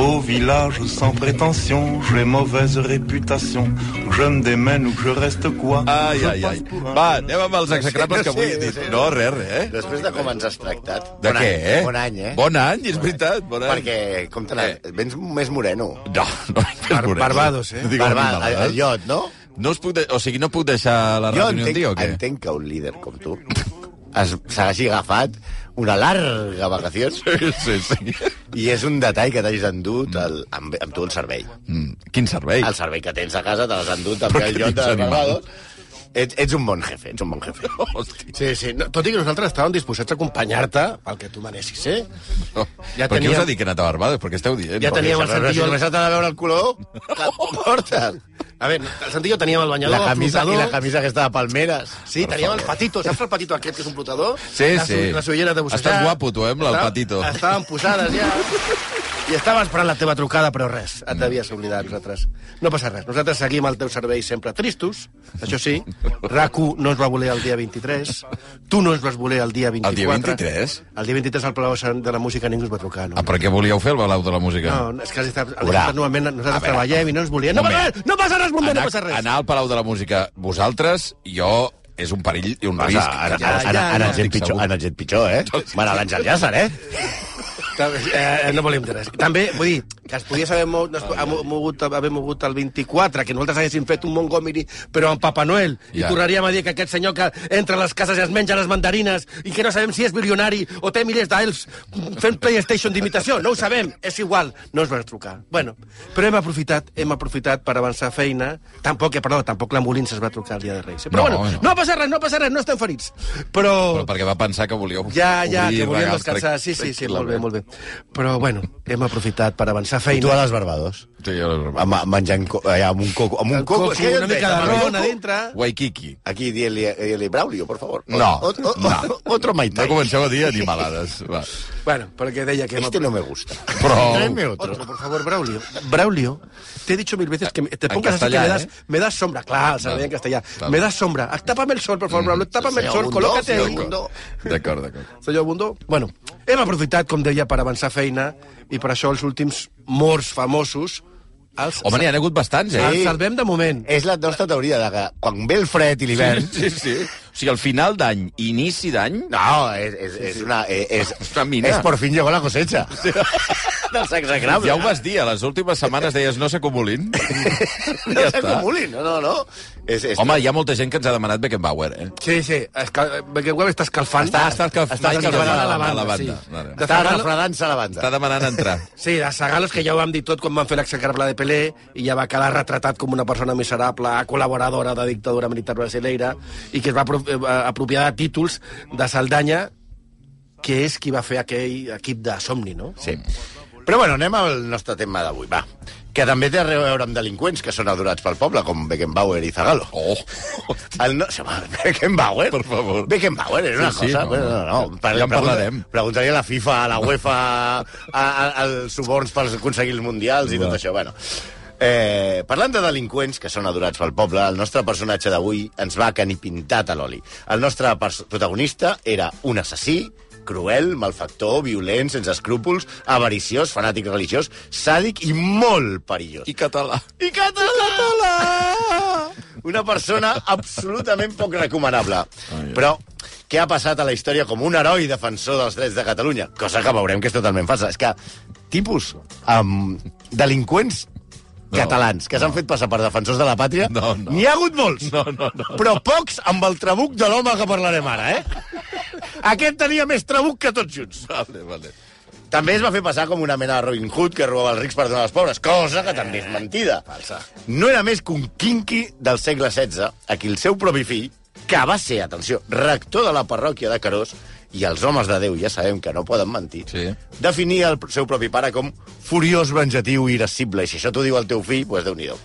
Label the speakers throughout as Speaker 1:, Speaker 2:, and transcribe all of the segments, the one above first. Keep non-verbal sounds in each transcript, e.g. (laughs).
Speaker 1: Au village sans prétention, j'ai mauvaise réputation. Que Je me démène ou que je reste quoi
Speaker 2: Ai,
Speaker 1: Je
Speaker 2: ai, ai.
Speaker 1: passe pour un-
Speaker 2: Va, anem amb els execrables
Speaker 3: No
Speaker 2: que
Speaker 3: sé, no
Speaker 2: avui...
Speaker 3: sé,
Speaker 2: he
Speaker 3: no
Speaker 2: dit.
Speaker 3: sé.
Speaker 2: No, res, res, eh?
Speaker 3: Després de com ens has tractat.
Speaker 2: De
Speaker 3: bon
Speaker 2: què,
Speaker 3: any,
Speaker 2: eh?
Speaker 3: Bon any, eh?
Speaker 2: Bon any, és veritat, bon any.
Speaker 3: Perquè, com t'ha anat? Vens més moreno.
Speaker 2: No, no, és moreno.
Speaker 4: Barbados, eh?
Speaker 2: Digue,
Speaker 3: Barba,
Speaker 2: Barbados.
Speaker 3: el iot, no?
Speaker 2: No us puc de... O sigui, no puc deixar la
Speaker 3: jo
Speaker 2: reunió un
Speaker 3: entenc,
Speaker 2: dia o què?
Speaker 3: entenc que un líder com tu es- s'hagi agafat una larga
Speaker 2: (laughs)
Speaker 3: vacació
Speaker 2: Sí, Mm. sí.
Speaker 3: i és un detall que t'hagis endut el, amb, amb tu el servei.
Speaker 2: Mm, Quin servei?
Speaker 3: El servei que tens a casa te l'has
Speaker 2: (laughs)
Speaker 3: endut
Speaker 2: Però
Speaker 3: també al
Speaker 2: que
Speaker 3: lloc de
Speaker 2: desanimal.
Speaker 3: Barbados. Ets, ets un bon jefe, ets un bon
Speaker 2: (laughs)
Speaker 3: jefe.
Speaker 2: Hòstia.
Speaker 4: Sí, sí. No, tot i que nosaltres estàvem disposats a acompanyar-te pel que tu manessis, eh?
Speaker 2: No.
Speaker 4: Ja
Speaker 2: Però què
Speaker 4: teníem-
Speaker 2: us ha dit que he anat a Barbados? Perquè esteu dient...
Speaker 4: Ja teníem el
Speaker 3: Però si
Speaker 4: Santillo...
Speaker 3: només has d'anar a veure el color, que et porta.
Speaker 4: A veure, el Santillo teníem el banyador,
Speaker 3: La camisa,
Speaker 4: el
Speaker 3: I
Speaker 4: flotador...
Speaker 3: la camisa aquesta de palmeres.
Speaker 4: Sí, teníem el patito, saps el patito aquest que és un flotador?
Speaker 2: Sí,
Speaker 4: les,
Speaker 2: sí.
Speaker 4: Les ulleres de bussejar...
Speaker 2: Estàs guapo, tu, eh, amb el
Speaker 4: Estava-
Speaker 2: patito.
Speaker 4: Estàvem posades ja... I estava esperant la teva trucada, però res, et devies oblidar nosaltres. No passa res, nosaltres seguim el teu servei sempre tristos, això sí. RAC1 no ens va voler el dia 23, tu no ens vas voler el dia 24.
Speaker 2: El dia 23?
Speaker 4: El dia 23 al Palau de la Música ningú ens va trucar. No?
Speaker 2: Ah, però què volíeu fer, el Balau de la Música?
Speaker 4: No, no, és que està,
Speaker 3: Ura.
Speaker 4: normalment
Speaker 2: A
Speaker 4: nosaltres
Speaker 2: veure.
Speaker 4: treballem i no ens volien. No passa
Speaker 2: Moment.
Speaker 4: res, no passa res, bomber,
Speaker 2: anar,
Speaker 4: no passa res.
Speaker 2: anar al Palau de la Música, vosaltres, jo, és un perill i un
Speaker 3: Ara,
Speaker 2: risc.
Speaker 3: ara,
Speaker 2: que
Speaker 4: ja,
Speaker 3: ara, ara,
Speaker 4: ja,
Speaker 3: ara
Speaker 4: ja.
Speaker 3: ens hem pitjor, ara ens hem pitjor, eh? Bueno, l'Àngel Llàcer, eh?
Speaker 4: També, eh, no volíem dir res. També, vull dir, que es podia haver, mo no es, ha mo- mogut, haver mogut el 24, que nosaltres haguéssim fet un Montgomery, però amb Papa Noel, i
Speaker 2: Ja.
Speaker 4: tornaríem a dir que aquest senyor que entra a les cases i es menja les mandarines i que no sabem si és milionari o té milers d'ells fent PlayStation d'imitació, no ho sabem, és igual, no ens van trucar. Bueno, però hem aprofitat, hem aprofitat per avançar feina. Tampoc, eh, perdó, tampoc l'ambulància es va trucar el dia de Reis. Però
Speaker 2: No,
Speaker 4: no, bueno,
Speaker 2: no.
Speaker 4: no. no passa res, no passa res, no estem ferits. Però...
Speaker 2: Però perquè va pensar que volíeu...
Speaker 4: Ja, ja,
Speaker 2: obrir
Speaker 4: que volíem
Speaker 2: regals
Speaker 4: descansar. Sí, sí, sí, molt bé, molt bé. Però, bueno, hem aprofitat per avançar
Speaker 3: I tu
Speaker 4: feina.
Speaker 3: a les Barbados?
Speaker 2: Sí, jo...
Speaker 3: Amb, menjant co allà, amb un coco. Amb un
Speaker 4: El coco,
Speaker 3: coco, és que ja
Speaker 4: una
Speaker 3: et veig,
Speaker 4: mica de
Speaker 3: amb el
Speaker 4: ron a
Speaker 3: coco.
Speaker 4: dintre.
Speaker 2: Waikiki.
Speaker 3: Aquí, dient-li dient Braulio, por favor.
Speaker 2: No,
Speaker 3: O- o- o-
Speaker 2: no.
Speaker 3: Otro Mai Tai.
Speaker 2: No comenceu a dir animalades.
Speaker 4: (laughs)
Speaker 2: Va.
Speaker 4: Bueno, perquè deia que... hem
Speaker 3: Este no me gusta.
Speaker 2: Però-
Speaker 3: Tráeme
Speaker 4: Otro,
Speaker 3: otro.
Speaker 4: por favor, Braulio. Braulio, te he dicho mil veces que me- te
Speaker 2: En
Speaker 4: pongas así que
Speaker 2: castellà,
Speaker 4: me das,
Speaker 2: eh?
Speaker 4: me das sombra. Claro, se lo
Speaker 2: Vale,
Speaker 4: en castellano.
Speaker 2: vale.
Speaker 4: Me das sombra. Ah, Tápame el sol, por favor, Braulio. Tápame el
Speaker 3: Señor
Speaker 4: sol,
Speaker 3: Bundó,
Speaker 4: colócate
Speaker 3: señor
Speaker 4: ahí.
Speaker 3: Bundó.
Speaker 2: D'acord, d'acord.
Speaker 4: Senyor Bundó, bueno, hem aprofitat, com deia, per avançar feina i per això els últims morts famosos els,
Speaker 2: Home, n'hi ha hagut bastants, eh?
Speaker 4: els salvem de moment.
Speaker 3: És la nostra teoria de que quan ve el fred i l'hivern...
Speaker 2: Sí, sí. O sigui, al final d'any, inici d'any...
Speaker 3: No, és, és, és una... És,
Speaker 2: És una mina.
Speaker 3: És por fin llegó la cosecha. (laughs) Dels exagrables.
Speaker 2: Ja ho vas dir, a les últimes setmanes deies no s'acumulin.
Speaker 4: (laughs)
Speaker 3: No s'acumulin, no, no, no. És, és,
Speaker 2: Home, hi ha molta gent que ens ha demanat Beckenbauer, eh?
Speaker 4: Sí, sí, escal... Beckenbauer està escalfant.
Speaker 2: Està- està escalf-
Speaker 4: està
Speaker 2: Michael
Speaker 4: escalfant
Speaker 2: Jordan
Speaker 4: a la
Speaker 2: a la
Speaker 4: banda, sí.
Speaker 2: banda, vale.
Speaker 4: De
Speaker 3: està
Speaker 4: Zagallo-
Speaker 3: refredant-se la banda.
Speaker 2: Està demanant entrar.
Speaker 4: Sí, de Sagalos, que ja ho vam dir tot quan van fer l'execrable de Pelé, i ja va quedar retratat com una persona miserable, col·laboradora de dictadura militar brasileira, i que es va apro- eh, va apropiar de títols de Saldanya, que és qui va fer aquell equip de somni, no?
Speaker 3: Sí.
Speaker 2: Mm.
Speaker 3: Però bueno, anem al nostre tema d'avui, va. Que també té a veure amb delinqüents que són adorats pel poble, com Beckenbauer i Zagallo.
Speaker 2: Oh!
Speaker 3: El no... Se va, Beckenbauer?
Speaker 2: Per favor.
Speaker 3: Beckenbauer és una
Speaker 2: Sí, sí,
Speaker 3: cosa...
Speaker 2: no,
Speaker 3: bueno, no,
Speaker 2: no.
Speaker 3: no,
Speaker 2: Ja en parlarem.
Speaker 3: Preguntaria a la FIFA, a la UEFA, a, a, als suborns per aconseguir els mundials i
Speaker 2: Va.
Speaker 3: tot això. Bueno, eh, parlant de delinqüents que són adorats pel poble, el nostre personatge d'avui ens va cani pintat a l'oli. El nostre pers- protagonista era un assassí, cruel, malfactor, violent, sense escrúpols, avariciós, fanàtic religiós, sàdic i molt perillós.
Speaker 2: I català.
Speaker 3: I català! Una persona absolutament poc recomanable.
Speaker 2: Ah,
Speaker 3: Però què ha passat a la història com un heroi defensor dels drets de Catalunya? Cosa que veurem que és totalment falsa. És que tipus um, delinqüents
Speaker 2: No,
Speaker 3: catalans que s'han fet passar per defensors de la pàtria,
Speaker 2: No, no.
Speaker 3: n'hi ha hagut molts.
Speaker 2: No, no, no.
Speaker 3: Però pocs amb el trabuc de l'home que parlarem ara, eh? Aquest tenia més trabuc que tots junts.
Speaker 2: Vale, vale.
Speaker 3: També es va fer passar com una mena de Robin Hood que robava els rics per donar als pobres, cosa que també és mentida. Falsa. No era més que un quinqui del segle XVI, a qui el seu propi fill, que va ser, atenció, rector de la parròquia de Carós, i els homes de Déu ja sabem que no poden mentir,
Speaker 2: Sí.
Speaker 3: definia el seu propi pare com furiós, venjatiu i irascible. I si això t'ho diu el teu fill, doncs déu-n'hi-do.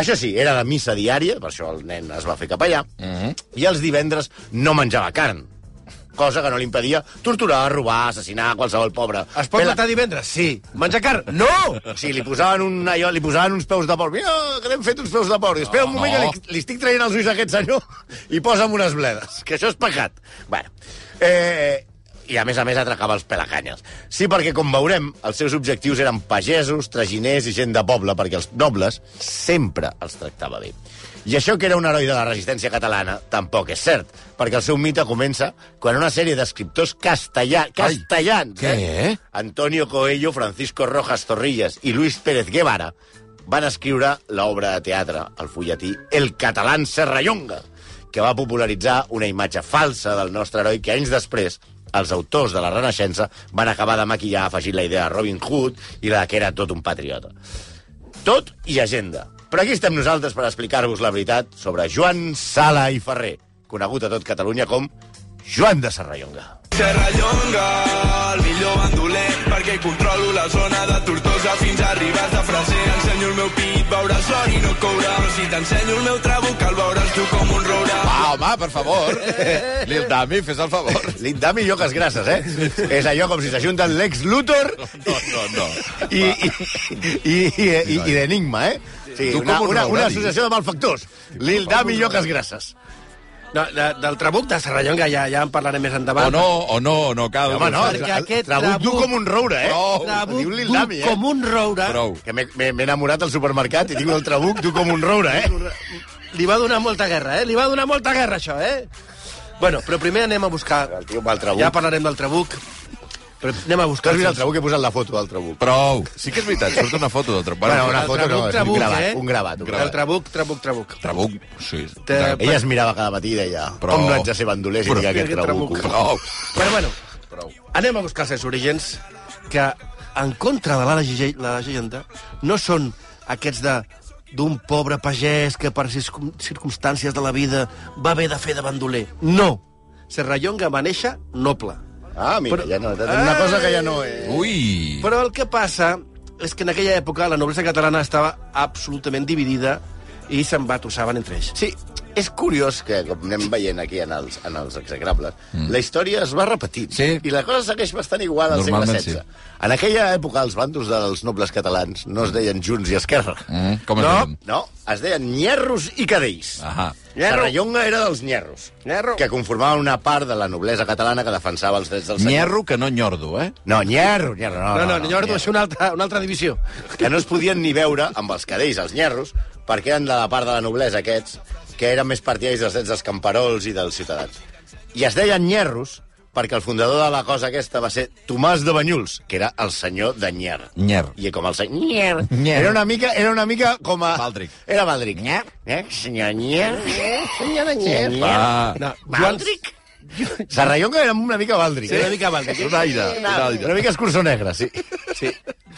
Speaker 3: Això sí, era de missa
Speaker 4: Mhm.
Speaker 3: diària, per això el nen es va fer capellà, mm -hmm. i els divendres no menjava carn. cosa que no li impedia torturar, robar, assassinar qualsevol pobre.
Speaker 4: Es pot
Speaker 3: Pela-
Speaker 4: matar divendres? Sí. Menjar carn? No!
Speaker 3: O sigui, li posaven, un, allò, li posaven uns peus de porc. Mira, que n'hem fet uns peus de porc. I espera un moment,
Speaker 2: no.
Speaker 3: que li, li estic traient els ulls a aquest senyor i posa'm unes bledes, que això és pecat. Bueno, eh, i a més a més atracava els pelacanyes. Sí, perquè, com veurem, els seus objectius eren pagesos, traginers i gent de poble, perquè els nobles sempre els tractava bé. I això que era un heroi de la resistència catalana tampoc és cert, perquè el seu mite comença quan una sèrie d'escriptors castellà, castellans...
Speaker 2: què?
Speaker 3: Eh? Antonio Coello, Francisco Rojas Torrillas i Luis Pérez Guevara van escriure l'obra de teatre, el fulletí El catalán Serrallonga, que va popularitzar una imatge falsa del nostre heroi que anys després els autors de la Renaixença van acabar de maquillar afegint la idea de Robin Hood i la que era tot un patriota. Tot i agenda. Però aquí estem nosaltres per explicar-vos la veritat sobre Joan Sala i Ferrer, conegut a tot Catalunya com Joan de Serrallonga.
Speaker 5: Serrallonga, el millor bandolet, perquè controlo la zona de Tortosa fins a Ribes de Freser. Ensenyo el meu pit, veuràs l'or i no coure. Però si t'ensenyo el meu trabuc, el veuràs tu com un roure.
Speaker 2: Va, Ah, home, per favor. Lil Dami, fes el favor.
Speaker 3: (laughs) Li da millor que les grasses, eh? És allò com si s'ajunten l'ex Luthor
Speaker 2: No, no, no.
Speaker 3: i, i, i, i, i, i l'enigma, eh? Sí,
Speaker 2: Tu com
Speaker 3: una,
Speaker 2: un
Speaker 3: una, una
Speaker 2: Rodari.
Speaker 3: associació de malfactors. Li da millor que les grasses.
Speaker 4: No, de, del trabuc de Serrallonga ja, ja en parlarem més
Speaker 2: O
Speaker 4: endavant.
Speaker 2: no, o no, no cal.
Speaker 3: Home, no,
Speaker 4: Perquè aquest
Speaker 3: trabuc dur
Speaker 4: trabuc-
Speaker 3: com un roure, eh?
Speaker 2: Prou.
Speaker 4: Trabuc
Speaker 3: Diu Lil
Speaker 4: dur
Speaker 3: Dami, eh?
Speaker 4: com un roure.
Speaker 2: Prou.
Speaker 3: Que m'he- m'he m'he enamorat al supermercat i tinc el trabuc dur com un roure, eh?
Speaker 4: Li va donar molta guerra, eh? Li va donar molta guerra, això, eh? Bueno, però primer anem a buscar...
Speaker 3: El tio amb el trabuc.
Speaker 4: Ja parlarem del trabuc. Però anem a
Speaker 3: Tu
Speaker 4: buscar...
Speaker 3: has vist el trabuc? He posat la foto del trabuc.
Speaker 2: Prou. Sí que és veritat, surt una foto del trabuc.
Speaker 3: Bueno, una
Speaker 4: El
Speaker 3: foto no,
Speaker 4: trabuc,
Speaker 3: és un
Speaker 4: trabuc,
Speaker 3: gravat,
Speaker 4: eh?
Speaker 3: un gravat. Un
Speaker 4: El
Speaker 3: gravat.
Speaker 4: trabuc, trabuc, trabuc.
Speaker 2: Trabuc, sí.
Speaker 4: Te-
Speaker 2: Tra-
Speaker 3: Ella es mirava cada matí i deia,
Speaker 2: eh, Però-
Speaker 3: com no haig de ser bandoler si
Speaker 2: Però-
Speaker 3: tinc aquest
Speaker 4: Aquest
Speaker 3: trabuc?
Speaker 4: trabuc.
Speaker 2: Prou.
Speaker 4: Però bueno, anem a buscar els seus orígens, que en contra de la, lege- la llegenda no són aquests de d'un pobre pagès que per circum- circumstàncies de la vida va haver de fer de bandoler. No! Serrallonga va néixer noble.
Speaker 3: Ah, mira,
Speaker 4: Però-
Speaker 3: ja no, una cosa que ja no és...
Speaker 2: Ui.
Speaker 4: Però el que passa és que en aquella època la noblesa catalana estava absolutament dividida i s'embatussaven entre ells.
Speaker 3: Sí, és curiós que, com anem veient aquí en els, en els execrables, mm. la història es va repetint.
Speaker 2: Sí.
Speaker 3: I la cosa segueix bastant igual al segle
Speaker 2: Normalment
Speaker 3: XVI. Sí. En aquella època, els bandos dels nobles catalans no es deien Junts i Esquerra.
Speaker 2: Mm, com es Ah.
Speaker 4: No.
Speaker 2: diuen?
Speaker 3: No, es deien nyerros i cadells.
Speaker 2: Ahà.
Speaker 4: Nyerro.
Speaker 3: Serrallonga era dels nyerros,
Speaker 4: Nyerro.
Speaker 3: que conformaven una part de la noblesa catalana que defensava els drets dels senyors.
Speaker 2: Nyerro que no nyordo, eh?
Speaker 3: No, nyerro, nyerro. No,
Speaker 4: No, no, no, Jordi, és una altra, una altra divisió.
Speaker 3: que no es podien ni veure amb els cadells, els nyerros, perquè eren de la part de la noblesa aquests, que eren més partidaris dels drets dels camperols i dels ciutadans. I es deien nyerros perquè el fundador de la cosa aquesta va ser Tomàs de Banyuls, que era el senyor de Nyer.
Speaker 2: Nyer.
Speaker 3: I com el senyor... Nyer.
Speaker 2: Nyer.
Speaker 3: Era una mica, era una mica com a...
Speaker 2: Baldric.
Speaker 3: Era Baldric. Nyer. Eh? Senyor Nyer. Senyor de Nyer.
Speaker 2: Ah.
Speaker 4: No,
Speaker 3: Baldric. Serrallonga era una mica Baldric.
Speaker 4: Sí,
Speaker 3: eh?
Speaker 4: una mica Baldric.
Speaker 3: Un aire. un aire. Una mica escurçó negre, sí.
Speaker 4: Sí.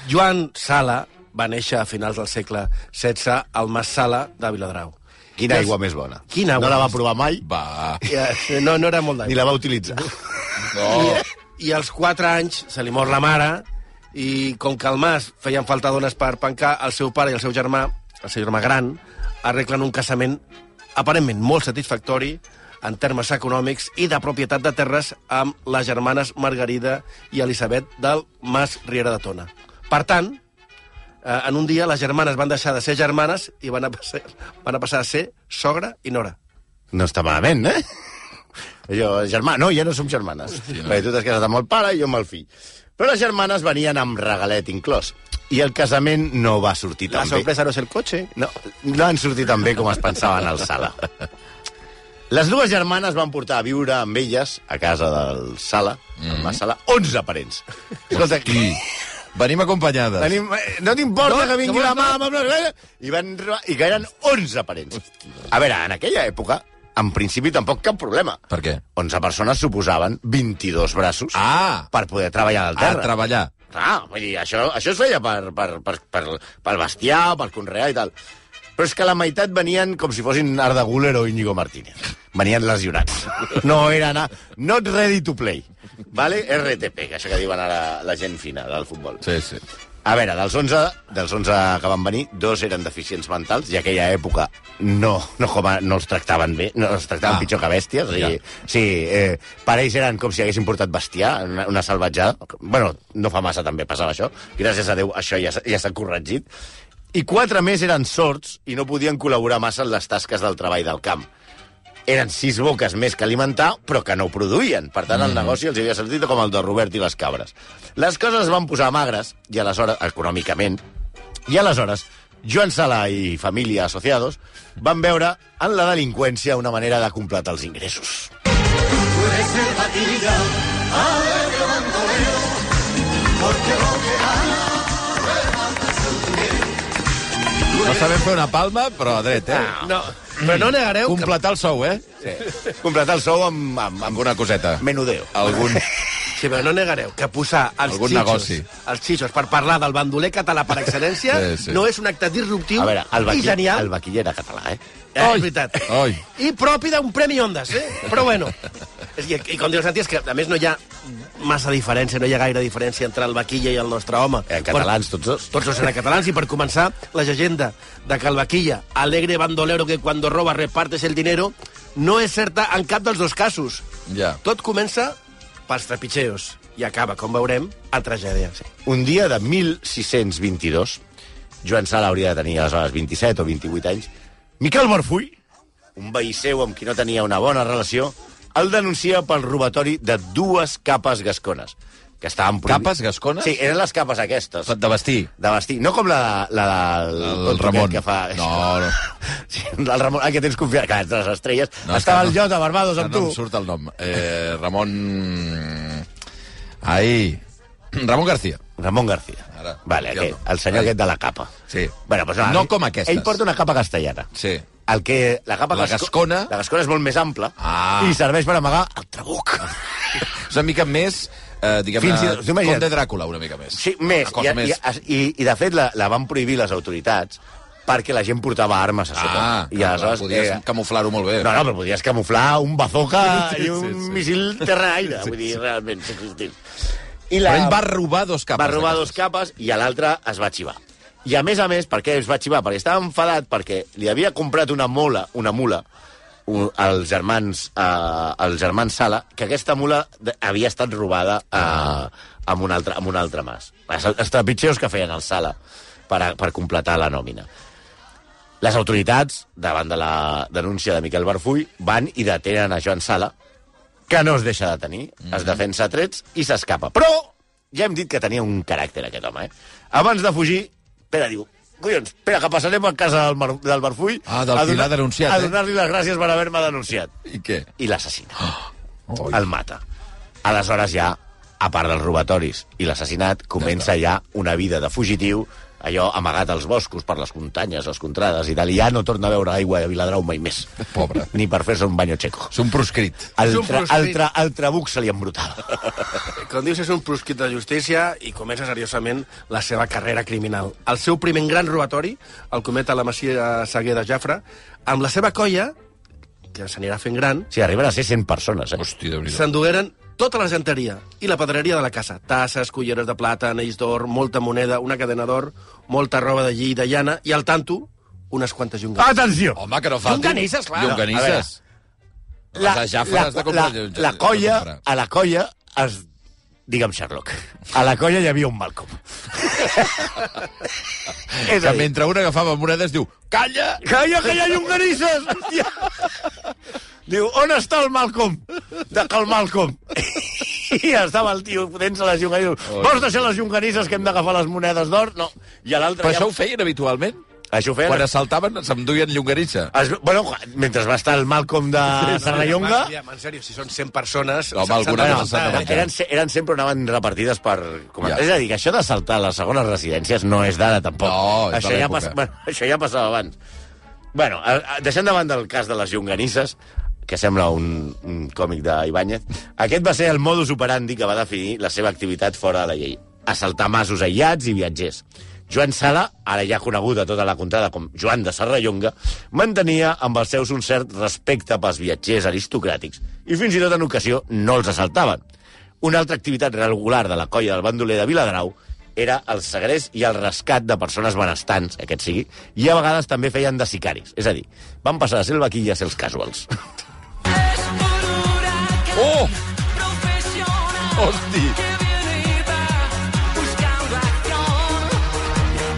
Speaker 4: Joan Sala va néixer a finals del segle XVI al Mas Sala de Viladrau.
Speaker 3: Quina aigua més bona.
Speaker 4: Quina aigua
Speaker 3: No la va
Speaker 4: més-
Speaker 3: provar mai.
Speaker 2: Va.
Speaker 4: Eh, No, no era molt
Speaker 3: ni
Speaker 4: d'aigua.
Speaker 3: la va utilitzar.
Speaker 2: No.
Speaker 4: I als 4 anys se li mor la mare i com que al Mas feien falta dones per pencar, el seu pare i el seu germà, el seu germà gran, arreglen un casament aparentment molt satisfactori en termes econòmics i de propietat de terres amb les germanes Margarida i Elisabet del Mas Riera de Tona. Per tant, Eh, en un dia les germanes van deixar de ser germanes i van a passar, van a, passar a ser sogra i nora.
Speaker 3: No està malament, eh? Jo, germà, no, ja no som germanes. Sí, no. Perquè tu t'has casat amb el pare i jo amb el fill. Però les germanes venien amb regalet inclòs. I el casament no va sortir
Speaker 4: La
Speaker 3: tan bé.
Speaker 4: sorpresa no és el cotxe.
Speaker 3: No, no han sortit tan bé com es pensaven al Sala. Les dues germanes van portar a viure amb elles, a casa del Sala, mm -hmm. Sala, 11 parents. Escolta,
Speaker 2: Hosti. Venim acompanyades.
Speaker 3: Tenim, eh, no t'importa
Speaker 4: No,
Speaker 3: que vingui
Speaker 4: que
Speaker 3: la
Speaker 4: vols
Speaker 3: mama... Bla, bla, bla, I, van, arribar- I que eren 11 parents. A veure, en aquella època, en principi, tampoc cap problema.
Speaker 2: Per què?
Speaker 3: 11 persones suposaven 22 braços
Speaker 2: Ah!
Speaker 3: per poder treballar al
Speaker 2: A
Speaker 4: Ah,
Speaker 3: terra.
Speaker 2: treballar.
Speaker 3: Clar, vull dir, això, això es feia per, per, per, per, per bestiar, per conrear i tal. Però és que la meitat venien com si fossin Arda Guller o Íñigo Martínez.
Speaker 4: (laughs)
Speaker 3: Venien lesionats. No eren... A... Not ready to play. Vale? RTP, que això que diuen ara la gent fina del futbol.
Speaker 2: Sí, sí.
Speaker 3: A veure, dels 11, dels 11 que van venir, dos eren deficients mentals, i aquella època no, no, com a, no els tractaven bé, no els tractaven
Speaker 2: Ah.
Speaker 3: ah. pitjor que bèsties. O sigui, sí, eh, per ells eren com si haguessin portat bestiar, una, una salvatjada. bueno, no fa massa també passava això. Gràcies a Déu això ja, s'ha- ja s'ha corregit. I quatre més eren sords i no podien col·laborar massa en les tasques del treball del camp eren sis boques més que alimentar, però que no ho produïen. Per tant, el negoci els havia sortit com el de Robert i les cabres. Les coses es van posar magres, i aleshores, econòmicament, i aleshores, Joan Sala i família associados van veure en la delinqüència una manera de completar els ingressos.
Speaker 2: No sabem fer una palma, però a dret,
Speaker 3: Ah,
Speaker 2: eh?
Speaker 4: No, però no negareu que...
Speaker 2: Completar el sou, eh?
Speaker 3: Completar el sou amb, amb, amb
Speaker 2: Alguna coseta.
Speaker 3: menudeo.
Speaker 2: Algun...
Speaker 4: Sí, però no negareu que posar els
Speaker 2: Algun
Speaker 4: xixos,
Speaker 2: negoci.
Speaker 4: els xixos per parlar del bandoler català per excel·lència
Speaker 2: Sí, sí.
Speaker 4: no és un acte disruptiu
Speaker 3: A veure, el,
Speaker 4: i
Speaker 3: vaquiller,
Speaker 4: genial.
Speaker 3: el vaquiller era català, eh?
Speaker 4: Eh, és veritat.
Speaker 2: Oi.
Speaker 4: I propi d'un Premi Ondas, eh? Però bueno. És, I, I com diu el Santi, és que a més no hi ha massa diferència, no hi ha gaire diferència entre el vaquilla i el nostre home.
Speaker 3: Eh, catalans, tots dos.
Speaker 4: Tots dos eren catalans i per començar, la llegenda de que el vaquilla, alegre bandolero que quan roba repartes el dinero, no és certa en cap dels dos casos.
Speaker 2: Ja.
Speaker 4: Ah. Tot comença pels trepitxeos i acaba, com veurem, a tragèdia. Sí.
Speaker 3: Un dia de 1622, Joan Sala hauria de tenir aleshores 27 o 28 anys, Miquel Marfull, un veí seu amb qui no tenia una bona relació, el denuncia pel robatori de dues capes gascones. Que estaven prohibi-
Speaker 2: Capes gascones?
Speaker 3: Sí, eren les capes aquestes.
Speaker 2: De vestir.
Speaker 3: De vestir. No com la, la del...
Speaker 2: El,
Speaker 3: tonto
Speaker 2: Ramon.
Speaker 3: aquest Que fa... eh?
Speaker 2: No, no.
Speaker 3: Sí, el Ramon, ah, que tens confiança. Que entre les estrelles
Speaker 2: No,
Speaker 3: no,
Speaker 2: és
Speaker 3: estava
Speaker 2: que
Speaker 3: el
Speaker 2: no.
Speaker 3: Jota Barbados
Speaker 2: No,
Speaker 3: amb
Speaker 2: no em
Speaker 3: tu.
Speaker 2: surt el nom. Eh, Ramon... Ai... Ramon García.
Speaker 3: Ramon García.
Speaker 2: Ara,
Speaker 3: vale,
Speaker 2: ja
Speaker 3: aquest,
Speaker 2: no.
Speaker 3: el senyor
Speaker 2: Ai.
Speaker 3: aquest de la capa.
Speaker 2: Sí.
Speaker 3: Bueno, pues,
Speaker 2: No com aquestes.
Speaker 3: Ell porta una capa castellana.
Speaker 2: Sí.
Speaker 3: El que, la capa
Speaker 2: La
Speaker 3: gasco-
Speaker 2: gascona.
Speaker 3: La gascona és molt més ampla
Speaker 2: Ah.
Speaker 3: i serveix per amagar el trabuc.
Speaker 2: És una mica més, eh, diguem-ne,
Speaker 3: Fins i tot,
Speaker 2: com
Speaker 3: imagina't.
Speaker 2: de Dràcula, una mica més.
Speaker 3: Sí, més.
Speaker 2: Una
Speaker 3: I,
Speaker 2: cosa més. Ah,
Speaker 3: i, i, I, de fet, la, la van prohibir les autoritats perquè la gent portava armes a sota.
Speaker 2: Ah,
Speaker 3: I
Speaker 2: clar,
Speaker 3: aleshores,
Speaker 2: podies
Speaker 3: eh,
Speaker 2: camuflar-ho molt bé.
Speaker 3: No, no, però podies camuflar un bazooka
Speaker 2: (laughs) Sí,
Speaker 3: i un
Speaker 2: sí, sí.
Speaker 3: missil terra-aire. Vull dir, realment, sí, sí, sí. I
Speaker 2: Però ell va robar dos capes.
Speaker 3: va robar
Speaker 2: de
Speaker 3: dos
Speaker 2: cases.
Speaker 3: capes i a l'altre es va xivar. I a més a més, per què es va xivar? Perquè estava enfadat perquè li havia comprat una mola, una mula, un- als germans, eh, als germans Sala, que aquesta mula de- havia estat robada eh, amb, un altre, amb un altre mas. Els, els trepitxeus que feien al Sala per, a, per completar la nòmina. Les autoritats, davant de la denúncia de Miquel Barfull, van i detenen a Joan Sala, que no es deixa de tenir,
Speaker 2: Mhm.
Speaker 3: es defensa a trets i s'escapa. Però ja hem dit que tenia un caràcter, aquest home, eh? Abans de fugir, Pere diu, collons, Pere, que passarem a casa del, Mar del Barfull
Speaker 2: Ah, del
Speaker 3: a
Speaker 2: qui
Speaker 3: donar-
Speaker 2: l'ha denunciat,
Speaker 3: a
Speaker 2: eh?
Speaker 3: donar-li les gràcies per haver-me denunciat.
Speaker 2: I què?
Speaker 3: I l'assassina.
Speaker 2: (gasps) Oi.
Speaker 3: El mata. Aleshores ja, a part dels robatoris i l'assassinat, comença ja una vida de fugitiu, allò amagat als boscos, per les muntanyes, les contrades i tal, i ja no torna a veure aigua de Viladrau mai més.
Speaker 2: Pobre.
Speaker 3: (laughs) Ni per fer-se un banyo checo.
Speaker 2: És un proscrit.
Speaker 4: És
Speaker 3: El,
Speaker 4: un
Speaker 3: tra, el,
Speaker 4: proscrit.
Speaker 3: tra, el trabuc se li
Speaker 2: (laughs)
Speaker 3: embrutava.
Speaker 4: Com dius, és un proscrit de justícia i comença seriosament la seva carrera criminal. El seu primer gran robatori el comet a la Masia Seguer de Jafra amb la seva colla, que s'anirà fent gran,
Speaker 3: Sí, arriben a ser 100 persones, eh?
Speaker 2: Hosti, déu nhi
Speaker 4: s'endugueren tota l'argenteria i la pedreria de la casa. Tasses, culleres de plata, anells d'or, molta moneda, una cadena d'or, molta roba de lli i de llana i, al tanto, unes quantes llonganes.
Speaker 3: Atenció!
Speaker 2: Home, que no falti.
Speaker 4: Llonganisses, clar.
Speaker 3: A veure.
Speaker 2: Llonganisses. La, les jafres has de comprar.
Speaker 3: la, la colla, a la colla es... Digue'm Sherlock. A la colla hi havia un Malcolm. és
Speaker 2: Que
Speaker 3: a dir,
Speaker 2: mentre un agafava monedes diu Calla!
Speaker 3: calla, que hi ha llonganisses! Hòstia! Diu, on està el Malcolm? De que el Malcolm. I estava el tio fotent-se les llonganisses. Vols deixar les llonganisses que hem d'agafar les monedes d'or? No. I a l'altre...
Speaker 2: Però això ho feien habitualment?
Speaker 3: Això ho feien.
Speaker 2: Quan assaltaven s'enduien llonganissa.
Speaker 3: Es, bueno, mentre va estar el Malcolm de Serrallonga...
Speaker 4: Aviam, en sèrio, si són 100 persones...
Speaker 2: Home,
Speaker 4: s'han-
Speaker 2: alguna
Speaker 4: s'han
Speaker 2: cosa
Speaker 4: de
Speaker 2: s'han de
Speaker 4: matar, eh?
Speaker 2: menjar.
Speaker 3: Eren, eren sempre anaven repartides per... Com...
Speaker 2: Ja.
Speaker 3: És a dir, que això de saltar les segones residències no és d'ara, tampoc.
Speaker 2: No, és de
Speaker 3: això ja,
Speaker 2: l'època.
Speaker 3: bueno, (laughs) això ja passava abans. Bueno, a, a, deixant davant del cas de les llonganisses, que sembla un, un còmic d'Ibáñez, aquest va ser el modus operandi que va definir la seva activitat fora de la llei. Assaltar masos aïllats i viatgers. Joan Sala, ara ja conegut a tota la contrada com Joan de Serrallonga, mantenia amb els seus un cert respecte pels viatgers aristocràtics i fins i tot en ocasió no els assaltaven. Una altra activitat regular de la colla del bandoler de Viladrau era el segrest i el rescat de persones benestants, aquest sigui, i a vegades també feien de sicaris. És a dir, van passar de ser el vaquilla a ser els casuals.
Speaker 2: Oh! Hosti!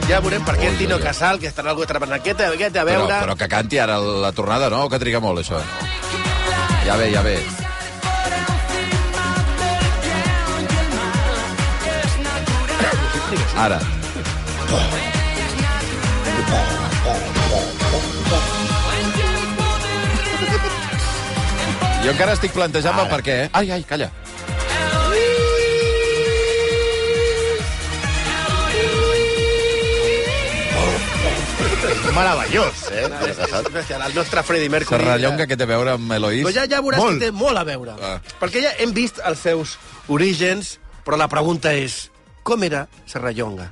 Speaker 4: Ja veurem Eh, per què el Tino Casal, que estarà algú treballant aquest, aquest, a
Speaker 2: Però,
Speaker 4: veure...
Speaker 2: però que canti ara la tornada, no? Que triga molt, això. Ja ve, ja ve. Ara. Jo encara estic plantejant-me per què... eh? Ai, ai, calla.
Speaker 3: Meravellós, eh?
Speaker 4: Especial, el nostre Freddie
Speaker 2: Se
Speaker 4: Mercury. eh,
Speaker 2: rellonga que té a veure amb Eloís.
Speaker 4: Però ja, ja veuràs
Speaker 3: Molt.
Speaker 4: que té molt a veure.
Speaker 2: Ah.
Speaker 4: Perquè ja hem vist els seus orígens, però la pregunta és, com era Serrallonga?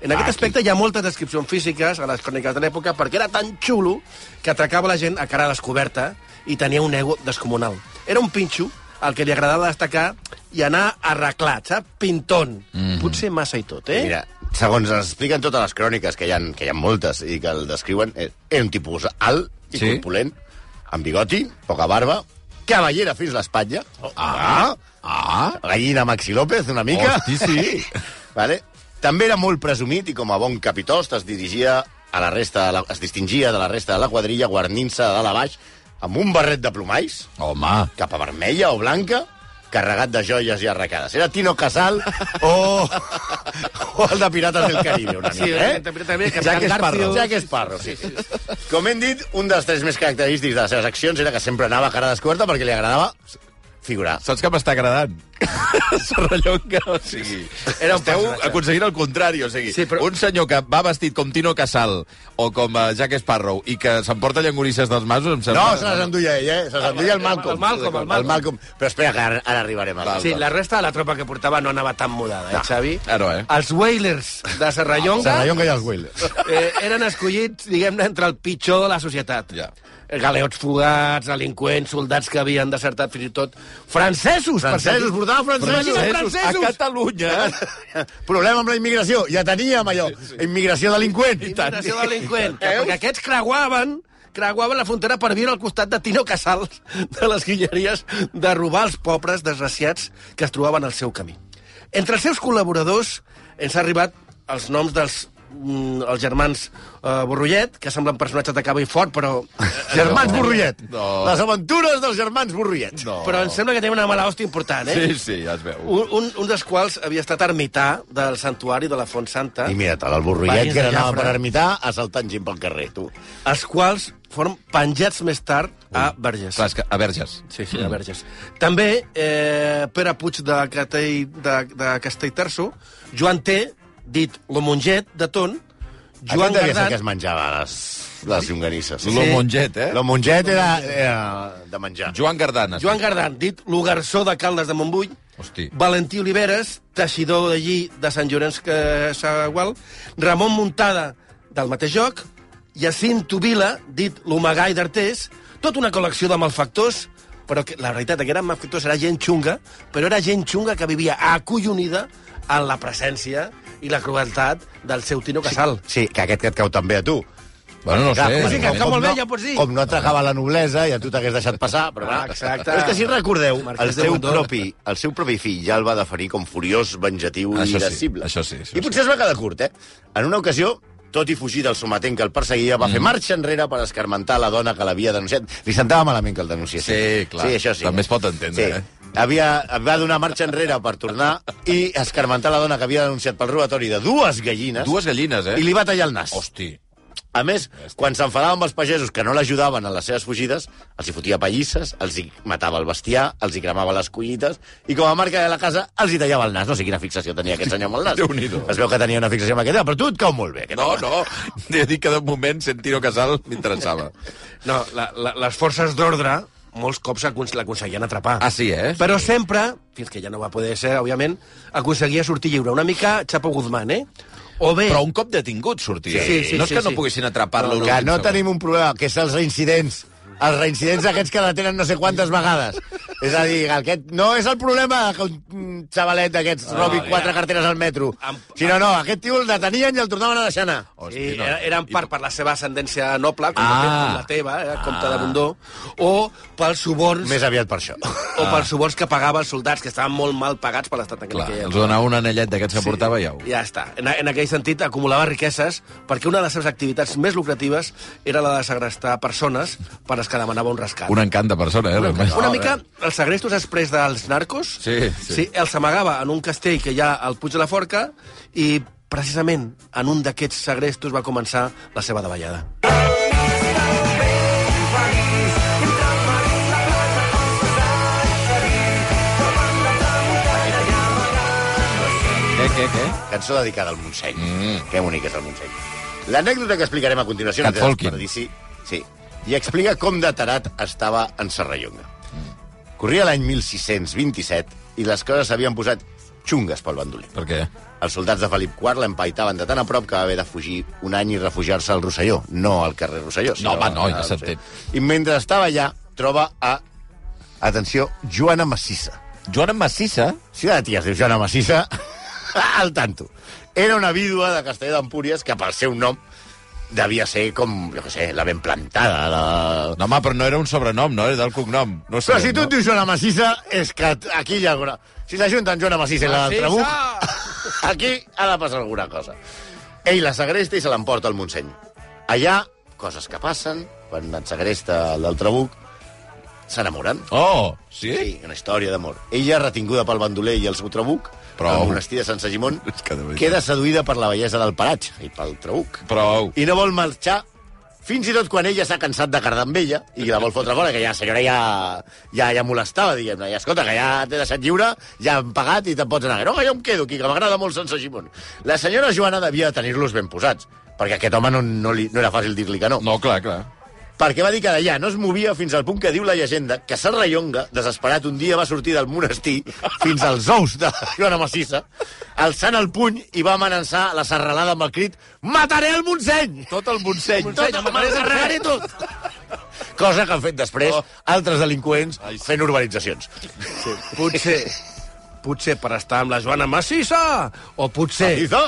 Speaker 4: En aquest aspecte hi ha moltes descripcions físiques a les cròniques de l'època perquè era tan xulo que atracava la gent a cara descoberta i tenia un ego descomunal. Era un pinxo al que li agradava destacar i anar arreglat, saps? Pintón. Mm -hmm. Potser massa i tot, eh?
Speaker 3: Mira, segons ens expliquen totes les cròniques, que hi ha, que hi ha moltes i que el descriuen, eh, era un tipus alt
Speaker 2: Sí.
Speaker 3: i sí. corpulent, amb bigoti, poca barba, cavallera fins a l'espatlla,
Speaker 2: Oh.
Speaker 3: ah,
Speaker 2: Ah,
Speaker 3: gallina Maxi López, una mica.
Speaker 2: Hosti, sí.
Speaker 3: (laughs) vale? També era molt presumit i com a bon capitost es dirigia a la resta, de la, es distingia de la resta de la quadrilla guarnint-se de dalt a baix amb un barret de plomalls,
Speaker 2: home.
Speaker 3: capa vermella o blanca, carregat de joies i arracades. Era Tino Casal
Speaker 4: (laughs)
Speaker 3: o, o el de Pirates del Caribe, una mica,
Speaker 4: Sí,
Speaker 3: eh?
Speaker 4: també- també que
Speaker 3: Jack Sparrow.
Speaker 4: Garfield.
Speaker 3: Jack Sparrow, sí. Com hem dit, un dels tres més característics de les seves accions era que sempre anava a cara descoberta perquè li agradava figurar.
Speaker 2: Saps que m'està
Speaker 4: (laughs)
Speaker 2: agradant? Serrallonga, o sigui...
Speaker 4: Era un
Speaker 2: esteu
Speaker 4: personatge.
Speaker 2: aconseguint el contrari, o sigui...
Speaker 4: Sí, però-
Speaker 2: Un senyor que va vestit com Tino Casal o com eh, Jack Sparrow i que s'emporta llangonisses dels masos, em
Speaker 3: No,
Speaker 2: sembla...
Speaker 3: se les enduia ell, eh? Se les enduia el Malcolm.
Speaker 4: Ah, El Malcolm, el Malcolm.
Speaker 3: El Malcolm. Però espera, que ara, ara arribarem. Al...
Speaker 4: Sí, la resta de la tropa que portava no anava tan mudada, eh, Xavi?
Speaker 2: Ah, no, eh?
Speaker 4: Els Whalers de Serrallonga...
Speaker 3: Serrallonga i els Whalers.
Speaker 4: (laughs) eh, eren escollits, diguem-ne, entre el pitjor de la societat.
Speaker 2: Ja.
Speaker 4: Galeots fugats, delinqüents, soldats que havien desertat fins i tot... Francesos!
Speaker 3: Francesos, portava francesos.
Speaker 4: Imagina,
Speaker 2: a
Speaker 4: francesos!
Speaker 2: Catalunya!
Speaker 3: Eh? (laughs) Problema amb la immigració. Ja teníem allò. Immigració delinqüent. Eh?
Speaker 4: Imitació delinqüent. Que, perquè aquests creuaven creuaven la frontera per viure al costat de Tino Casals de les guilleries de robar els pobres desgraciats que es trobaven al seu camí. Entre els seus col·laboradors ens ha arribat els noms dels mm, els germans eh, Borrollet, que semblen personatges de cavall fort, però... eh,
Speaker 3: (laughs) Germans Burriet.
Speaker 2: No.
Speaker 3: Les aventures dels germans Burriet.
Speaker 2: No.
Speaker 4: Però em sembla que té una mala hòstia important, eh?
Speaker 2: Sí, sí, ja es veu.
Speaker 4: Un, un, un dels quals havia estat ermità del santuari de la Font Santa,
Speaker 3: I mira el Burriet,
Speaker 4: Veïns
Speaker 3: que
Speaker 4: de
Speaker 3: anava
Speaker 4: Jafre.
Speaker 3: per ermità assaltant gent pel carrer, tu.
Speaker 4: els quals foren penjats més tard a Verges.
Speaker 2: Clar, és que a Verges.
Speaker 4: Sí, sí, a Verges. També eh, Pere Puig de, Catell, de, de Castellterço, Joan T, dit Lo Monget, de Ton,
Speaker 3: Joan
Speaker 4: Joan
Speaker 3: devia ser
Speaker 4: Gardat...
Speaker 3: el que es menjava les, les llonganisses.
Speaker 2: Lo Monget, eh?
Speaker 3: Lo monget era, era de menjar.
Speaker 2: Joan Gardanes.
Speaker 4: Joan Gardan, dit lo garçó de Caldes de Montbui,
Speaker 2: Hosti.
Speaker 4: Valentí Oliveres, teixidor de lli de Sant Llorenç que Sagual, Ramon Muntada, del mateix joc, Jacinto Vila, dit l'Omegai d'Artés, tota una col·lecció de malfactors, però que, la veritat que eren malfactors, era gent xunga, però era gent xunga que vivia acollonida en la presència i la crueltat del seu Tino Casal.
Speaker 3: Sí, que aquest que et cau també a tu.
Speaker 2: Bueno, no
Speaker 3: Clar,
Speaker 2: sé. eh,
Speaker 3: com-
Speaker 4: sí, que-
Speaker 3: com-
Speaker 4: que
Speaker 3: com
Speaker 4: molt bé,
Speaker 3: no-
Speaker 4: ja pots dir.
Speaker 3: Com no atracava la noblesa i a tu t'hagués deixat passar, però clar.
Speaker 4: Ah, exacte.
Speaker 3: Però és que si recordeu,
Speaker 4: Marquès
Speaker 3: el
Speaker 4: de
Speaker 3: seu,
Speaker 4: Mondor.
Speaker 3: propi, el seu propi fill ja el va definir com furiós, venjatiu i
Speaker 2: Això sí,
Speaker 3: irascible.
Speaker 2: això sí, això
Speaker 3: I potser es va quedar curt, eh? En una ocasió, tot i fugir del sometent que el perseguia,
Speaker 2: Mm.
Speaker 3: va fer marxa enrere per escarmentar la dona que l'havia denunciat. Li sentava malament que el denunciessin.
Speaker 2: Sí, clar.
Speaker 3: Sí, això sí.
Speaker 2: També es pot entendre, eh?
Speaker 3: Havia, va donar marxa enrere per tornar i escarmentar la dona que havia denunciat pel robatori de dues gallines
Speaker 2: Dues gallines, eh?
Speaker 3: i li va tallar el nas.
Speaker 2: Hosti.
Speaker 3: A més, quan s'enfadaven amb els pagesos que no l'ajudaven en les seves fugides, els hi fotia pallisses, els hi matava el bestiar, els hi cremava les collites i com a marca de la casa els hi tallava el nas. No sé quina fixació tenia aquest senyor amb el
Speaker 2: (laughs)
Speaker 3: nas.
Speaker 2: Déu-n'hi-do.
Speaker 3: Es veu que tenia una fixació amb aquest, però tu et cau molt bé. Aquest.
Speaker 2: No, no. He dit que de moment Sentino Casal
Speaker 4: (laughs)
Speaker 2: m'interessava.
Speaker 4: No, la, la, les forces d'ordre molts cops acon- l'aconseguien atrapar.
Speaker 2: Ah, sí, eh?
Speaker 4: Però sempre, fins que ja no va poder ser, òbviament, aconseguia sortir lliure. Una mica Chapo Guzmán, eh? O bé...
Speaker 2: Però un cop detingut sortia.
Speaker 4: Sí, sí,
Speaker 2: no és
Speaker 4: sí,
Speaker 2: que no
Speaker 4: sí.
Speaker 2: poguessin atrapar-lo.
Speaker 3: Que no tenim un problema, que és els incidents Els reincidents aquests que la tenen no sé quantes vegades. És a dir, aquest no és el problema que un xavalet d'aquests
Speaker 2: Ah,
Speaker 3: robi quatre carteres al metro.
Speaker 4: Amb-
Speaker 3: Si no, no, aquest tio el detenien i el tornaven a deixar anar.
Speaker 4: Sí, era, era en part per la seva ascendència noble, com,
Speaker 2: Ah.
Speaker 4: ah. com la teva, eh, Comte de Bundó, o pels suborns
Speaker 3: Més aviat per això.
Speaker 4: o pels suborns que pagava els soldats, que estaven molt mal pagats per l'estat en
Speaker 2: Ah. Clar,
Speaker 4: aquella
Speaker 2: els
Speaker 4: època.
Speaker 2: donava un anellet d'aquests que sí. portava i au.
Speaker 4: Ja està. En, en aquell sentit, acumulava riqueses perquè una de les seves activitats més lucratives era la de segrestar persones per les que demanava un rescat.
Speaker 2: Un encant de persona, eh? realment.
Speaker 4: Una mica els segrestos després dels narcos
Speaker 2: Sí, sí.
Speaker 4: els amagava en un castell que hi ha al Puig de la Forca i precisament en un d'aquests segrestos va començar la seva
Speaker 2: (laughs)
Speaker 4: davallada.
Speaker 2: Què, què, què?
Speaker 3: Cançó dedicada al Montseny. Mm. Que bonic és el Montseny. L'anècdota que explicarem a continuació...
Speaker 2: Cat
Speaker 3: no té
Speaker 2: Folkin.
Speaker 3: desperdici. Sí. I explica com de tarat estava en Serrallonga. Corria l'any 1627 i les coses s'havien posat xungues pel bandoler.
Speaker 2: Per què?
Speaker 3: Els soldats de Felip IV l'empaitaven de tan a prop que va haver de fugir un any i refugiar-se al Rosselló. No al carrer Rosselló, sinó...
Speaker 2: home, no,
Speaker 3: al-
Speaker 2: ja
Speaker 3: al
Speaker 2: s'entén.
Speaker 3: Rosselló. I mentre estava allà, troba a... Atenció, Joana Massissa.
Speaker 2: Joan Massissa?
Speaker 3: Si una tia es diu Joana Massissa, (laughs) al tanto. Era una vídua de Castelló d'Empúries que pel seu nom devia ser com, jo què sé, la ben plantada. La...
Speaker 2: No, home, però no era un sobrenom, no? Era del cognom. No sé,
Speaker 3: Però si tu
Speaker 2: no?
Speaker 3: et dius Joana Massissa, és que aquí hi ha alguna... Si s'ajunten Joana Massissa i l'altre buc, (laughs) aquí ha de passar alguna cosa. Ell la segresta i se l'emporta al Montseny. Allà, coses que passen, quan et segresta el del Trabuc, s'enamoren.
Speaker 2: Oh, sí?
Speaker 3: Sí, una història d'amor. Ella, retinguda pel bandoler i el seu trabuc,
Speaker 2: Prou.
Speaker 3: Prou. al monestir de Sant Sagimon,
Speaker 2: (laughs) És que de veritat.
Speaker 3: queda seduïda per la bellesa del paratge i pel trabuc.
Speaker 2: Prou.
Speaker 3: I no vol marxar fins i tot quan ella s'ha cansat de cardar amb ella i la vol fotre fora, que ja la senyora ja, ja, ja molestava, diguem-ne. Ja, escolta, que ja t'he deixat lliure, ja hem pagat i te'n pots anar. No, que jo em quedo aquí, que m'agrada molt Sant Sagimon. La senyora Joana devia tenir-los ben posats, perquè aquest home no, no, li, no era fàcil dir-li que no
Speaker 2: No, clar, clar.
Speaker 3: perquè va dir que d'allà no es movia fins al punt que diu la llegenda que Serrallonga, desesperat, un dia va sortir del monestir fins als ous de Joana Massissa, alçant el puny i va amenaçar la serralada amb el crit «Mataré el Montseny!»
Speaker 2: Tot el Montseny.
Speaker 3: Tot el Montseny, tot! Cosa que han fet després altres delinqüents fent urbanitzacions.
Speaker 4: Potser, potser per estar amb la Joana Massissa, o potser
Speaker 3: Massissa!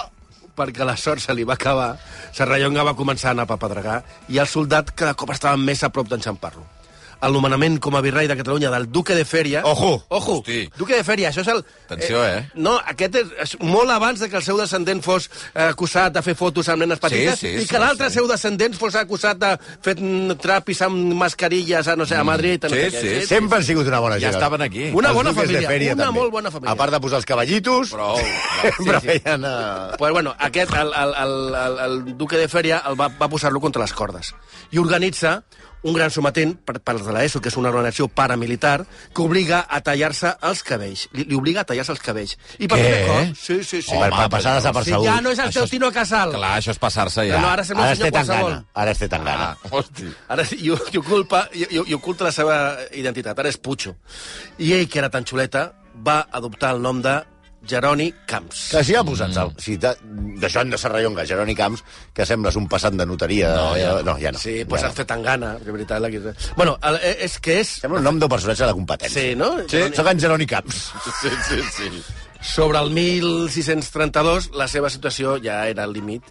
Speaker 4: perquè la sort se li va acabar, Serrallonga va començar a anar a papedregar i el soldat cada cop estava més a prop d'enxampar-lo. El nomenament com a virrei de Catalunya del duque de Fèria...
Speaker 2: Ojo!
Speaker 4: Ojo!
Speaker 2: Hosti.
Speaker 4: Duque de Fèria, això és el...
Speaker 2: Atenció, eh?
Speaker 4: No, aquest és, és molt abans de que el seu descendent fos eh, acusat de fer fotos amb nenes petites
Speaker 2: sí,
Speaker 4: i
Speaker 2: sí,
Speaker 4: que l'altre
Speaker 2: sí.
Speaker 4: seu descendent fos acusat de fer mm, trapis amb mascarilles a, no sé, a Madrid... a no
Speaker 2: Mm. Sí,
Speaker 4: sé què. Eh,
Speaker 2: sí, sí.
Speaker 3: Sempre han sigut una bona
Speaker 2: Ja
Speaker 3: gent.
Speaker 2: estaven aquí.
Speaker 4: Una
Speaker 3: Els
Speaker 4: bona
Speaker 3: duques de
Speaker 4: família,
Speaker 3: Fèria,
Speaker 4: una
Speaker 3: també.
Speaker 4: molt bona família.
Speaker 3: A part de posar els cavallitos,
Speaker 2: Prou. (laughs)
Speaker 3: sempre
Speaker 4: sí, sí.
Speaker 3: feien... eh,
Speaker 4: Pues bueno, aquest, el, el, el, el, el duque de Fèria el va, va posar-lo contra les cordes i organitza un gran sometent per, per als de l'ESO, que és una organització paramilitar, que obliga a tallar-se els cabells. Li, li obliga a tallar-se els cabells. I
Speaker 2: Què?
Speaker 4: per primer cop... Sí, sí, sí.
Speaker 3: Per, per
Speaker 2: Home,
Speaker 3: passar
Speaker 2: però-
Speaker 4: sí,
Speaker 3: desapercebut.
Speaker 4: ja no és el
Speaker 2: Això
Speaker 4: teu
Speaker 2: és-
Speaker 4: Tino Casal.
Speaker 2: Clar, això és passar-se ja.
Speaker 4: No, no, ara sembla un
Speaker 3: Ara es té
Speaker 4: senyor
Speaker 3: tan
Speaker 4: qualsevol.
Speaker 3: gana. Ara es té tan gana.
Speaker 2: Ah, hosti.
Speaker 4: Ara sí, i, i, oculpa, i, i, i oculta la seva identitat. Ara és Pucho. I ell, que era tan xuleta, va adoptar el nom de Jeroni Camps.
Speaker 3: Que s'hi ha posat, mm. si de, de Joan de Serrallonga, Jeroni Camps, que sembles un passant de notaria... No, ja no. Ja no
Speaker 4: Sí, pues
Speaker 3: ja
Speaker 4: has fet tan gana, de veritat. La... que- Bueno, el, eh, és que és...
Speaker 3: Sembla un nom d'un personatge de la competència.
Speaker 4: Sí, no?
Speaker 3: Sí. Soc en Jeroni Camps.
Speaker 2: Sí, sí, sí.
Speaker 4: Sobre el 1632, la seva situació ja era al límit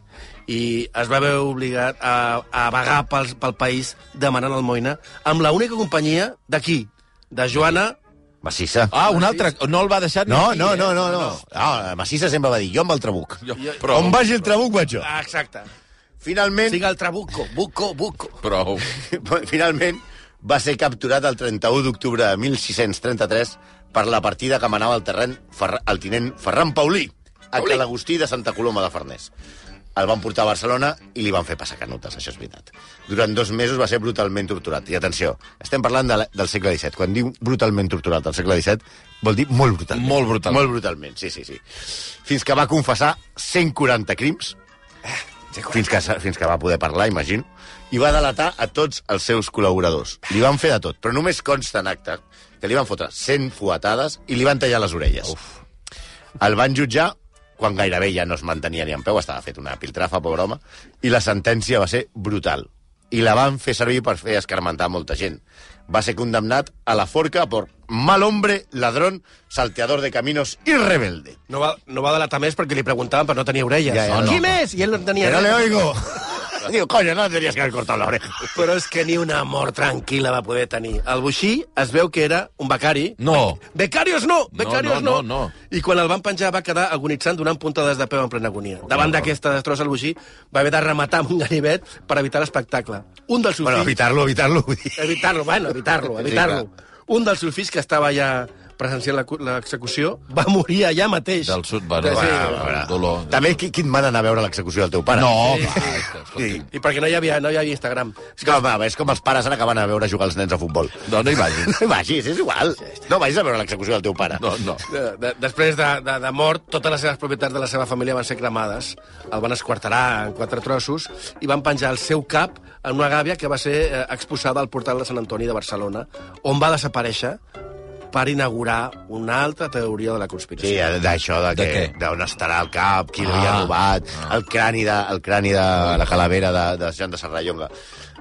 Speaker 4: i es va veure obligat a, a vagar pel, pel país demanant almoina amb la única companyia d'aquí, de Joana...
Speaker 3: Massissa.
Speaker 2: Ah, un altre... No el va deixar ni
Speaker 3: No,
Speaker 2: aquí,
Speaker 3: no,
Speaker 2: eh?
Speaker 3: no, no, no. no Massissa sempre va dir, jo amb el trabuc. Jo,
Speaker 2: Jo-
Speaker 3: però... On vagi el trabuc, vaig jo.
Speaker 4: Ah, exacte.
Speaker 3: Finalment,
Speaker 4: Siga el trabuco, buco, buco.
Speaker 2: Prou.
Speaker 3: (laughs) finalment va ser capturat el 31 d'octubre de 1633 per la partida que manava el terreny Ferra, el tinent Ferran Paulí, a
Speaker 4: Paulí.
Speaker 3: Calagustí de Santa Coloma de Farners. El van portar a Barcelona i li van fer passar canutes, això és veritat. Durant dos mesos va ser brutalment torturat. I atenció, estem parlant de la, del segle XVII. Quan diu brutalment torturat al segle XVII, vol dir molt brutalment.
Speaker 2: Molt brutalment.
Speaker 3: Molt brutalment, sí, sí, sí. Fins que va confessar 140 crims, fins que, fins que va poder parlar, imagino, i va delatar a tots els seus col·laboradors. Li van fer de tot, però només consta en acte que li van fotre 100 fuetades i li van tallar les orelles. Uf. El van jutjar quan gairebé ja no es mantenia ni en peu, estava fet una piltrafa, pobre home, i la sentència va ser brutal. i la van fer servir per fer escarmentar molta gent. Va ser condemnat a la forca per mal hombre, ladrón, salteador de caminos i rebelde.
Speaker 4: No va, no va delatar més perquè li preguntaven per no tenir orelles.
Speaker 3: Ja, ja, no,
Speaker 4: Qui
Speaker 3: no.
Speaker 4: més? I ell no en tenia
Speaker 3: Que no
Speaker 4: res.
Speaker 3: le
Speaker 2: (laughs)
Speaker 3: oigo. Diu, coño, no tenías que haber cortado la oreja.
Speaker 4: Però és que ni una mort tranquil·la va poder tenir. El Buixí es veu que era un becari.
Speaker 2: No.
Speaker 4: Becarios no! Becarios
Speaker 2: no,
Speaker 4: no,
Speaker 2: no, no.
Speaker 4: I quan el van penjar va quedar agonitzant donant puntades de peu en plena agonia. Davant d'aquesta destrossa, el Buixí va haver de rematar amb un ganivet per evitar l'espectacle. Un dels seus
Speaker 3: Bueno,
Speaker 4: fills...
Speaker 3: evitar-lo, evitar-lo. vull (laughs) dir.
Speaker 4: Evitar-lo, bueno, evitar-lo, evitar-lo.
Speaker 3: Sí,
Speaker 4: un dels seus fills que estava ja presenciant l'acu- l'execució va morir allà mateix.
Speaker 2: Del sud, bueno,
Speaker 4: Sí.
Speaker 2: bueno, bueno, dolor.
Speaker 3: També qui, qui et mana anar a veure l'execució del teu pare?
Speaker 2: No, sí, va, sí.
Speaker 3: Sí.
Speaker 4: I perquè no hi havia, no hi havia Instagram.
Speaker 3: És com, home, és com els pares ara que van a veure jugar els nens a futbol.
Speaker 2: No, no hi vagis.
Speaker 3: (laughs) No hi vagis, és igual. No vagis a veure l'execució del teu pare.
Speaker 2: Oh, No, no.
Speaker 4: De, Eh, de, després de, de, de mort, totes les seves propietats de la seva família van ser cremades. El van esquarterar en quatre trossos i van penjar el seu cap en una gàbia que va ser eh, exposada al portal de Sant Antoni de Barcelona, on va desaparèixer per inaugurar una altra teoria de la
Speaker 3: Sí, eh.
Speaker 4: conspiració.
Speaker 3: d'això, de,
Speaker 2: De
Speaker 3: que,
Speaker 2: què?
Speaker 3: d'on estarà el cap, qui l'havia
Speaker 2: Ah.
Speaker 3: robat, el crani de, el crani de la calavera de, de Joan de Serrallonga.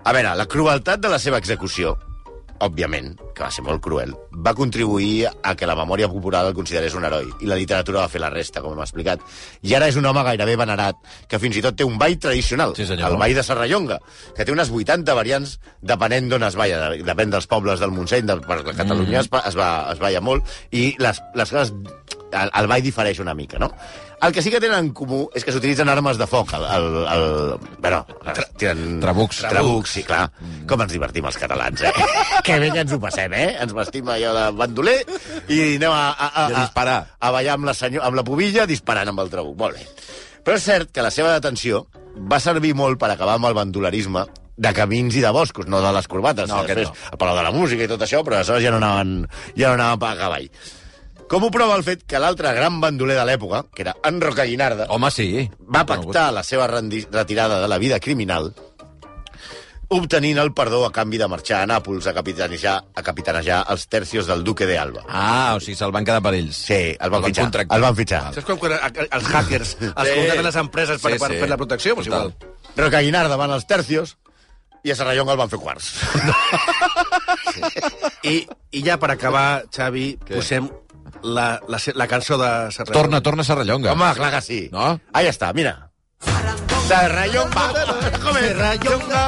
Speaker 3: A veure, la crueltat de la seva execució, òbviament, que va ser molt cruel, va contribuir a que la memòria popular el considerés un heroi, i la literatura va fer la resta, com hem explicat. I ara és un home gairebé venerat, que fins i tot té un ball tradicional,
Speaker 2: Sí, senyor.
Speaker 3: el ball de Serrallonga, que té unes 80 variants depenent d'on es balla, de- depèn dels pobles del Montseny, de, per Catalunya es, ba- es, va, es balla molt, i les, les coses, el, el ball difereix una mica, no? El que sí que tenen en comú és que s'utilitzen armes de foc. El, el, el, bueno, tenen...
Speaker 2: trabucs.
Speaker 3: Trabucs, sí, clar. Com ens divertim els catalans, eh? que bé que ens ho passem, eh? Ens vestim allò de bandoler i anem a... a, a,
Speaker 2: I a
Speaker 3: a
Speaker 2: disparar.
Speaker 3: Ah. a ballar amb la, senyor, amb la pubilla disparant amb el trabuc. Molt bé. Però és cert que la seva detenció va servir molt per acabar amb el bandolerisme de camins i de boscos, no de les corbates.
Speaker 2: No, aquest
Speaker 3: no. Però de la música i tot això, però aleshores ja no anaven, ja no anaven per cavall. Com ho prova el fet que l'altre gran bandoler de l'època, que era en Roca Guinarda,
Speaker 2: Home, sí.
Speaker 3: va pactar la seva rendi- retirada de la vida criminal obtenint el perdó a canvi de marxar a Nàpols a capitanejar, a capitanejar els tercios del duque de Alba.
Speaker 2: Ah, o sigui, se'l van quedar per ells.
Speaker 3: Sí, el van fitxar.
Speaker 2: contractar.
Speaker 3: El van fitxar.
Speaker 4: Saps com quan a- a- els hackers els contraten les empreses per,
Speaker 2: Sí,
Speaker 4: per,
Speaker 2: sí.
Speaker 4: per la protecció? Pues
Speaker 2: Total.
Speaker 4: igual.
Speaker 3: Roca Guinarda van als tercios i a Serrallonga el van fer quarts.
Speaker 4: I, I ja per acabar, Xavi, Què? posem la, la, se- la cançó de Serrat.
Speaker 2: Torna, torna a Serrallonga.
Speaker 3: Home, clar que sí.
Speaker 2: No?
Speaker 3: Ahí està, mira. Serrallonga. Com és? Serrallonga.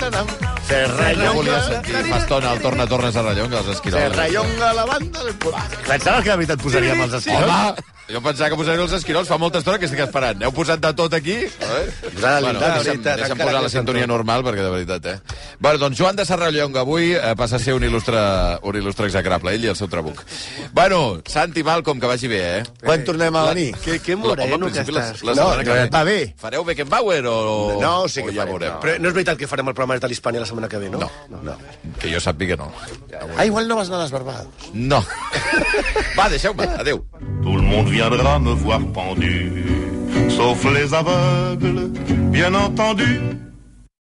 Speaker 2: Jo volia
Speaker 3: Serrallonga.
Speaker 2: sentir fa estona el torna, torna a Serrallonga, els esquirols.
Speaker 3: Serrallonga, la banda del pueblo. Pensaves que de veritat posaríem els esquirols?
Speaker 2: Home, jo pensava que posaria els esquirols fa molta estona que estic esperant. Heu posat de tot aquí?
Speaker 3: Posar la
Speaker 2: Bueno,
Speaker 3: linda,
Speaker 2: deixa'm,
Speaker 3: veritat,
Speaker 2: deixa'm
Speaker 3: encara
Speaker 2: posar
Speaker 3: que
Speaker 2: la
Speaker 3: és
Speaker 2: sintonia normal, perquè de veritat, eh? Bueno, doncs Joan de Serrallonga avui eh, passa a ser un il·lustre, un il·lustre execrable, ell i el seu trabuc. Bueno, Santi Malcom, que vagi bé, eh?
Speaker 3: Quan tornem a venir?
Speaker 4: Que, que
Speaker 2: Home, en
Speaker 4: moreno que
Speaker 2: principi, la-
Speaker 4: estàs.
Speaker 2: la
Speaker 3: No,
Speaker 2: setmana que
Speaker 3: no,
Speaker 2: ve.
Speaker 3: va bé.
Speaker 2: Fareu Beckenbauer o...
Speaker 3: No, sí
Speaker 2: o
Speaker 3: que
Speaker 2: ja
Speaker 3: farem,
Speaker 2: veurem.
Speaker 4: Oh, Però no és veritat que farem el programa de l'Hispània la setmana que ve, no?
Speaker 2: No.
Speaker 3: No.
Speaker 2: Que jo sàpiga no.
Speaker 3: Ah, igual no vas anar a les Barbados.
Speaker 2: No. (laughs) Va, deixeu-me. Adéu.
Speaker 1: Tout le monde viendra me voir pendu, sauf les aveugles, bien entendu.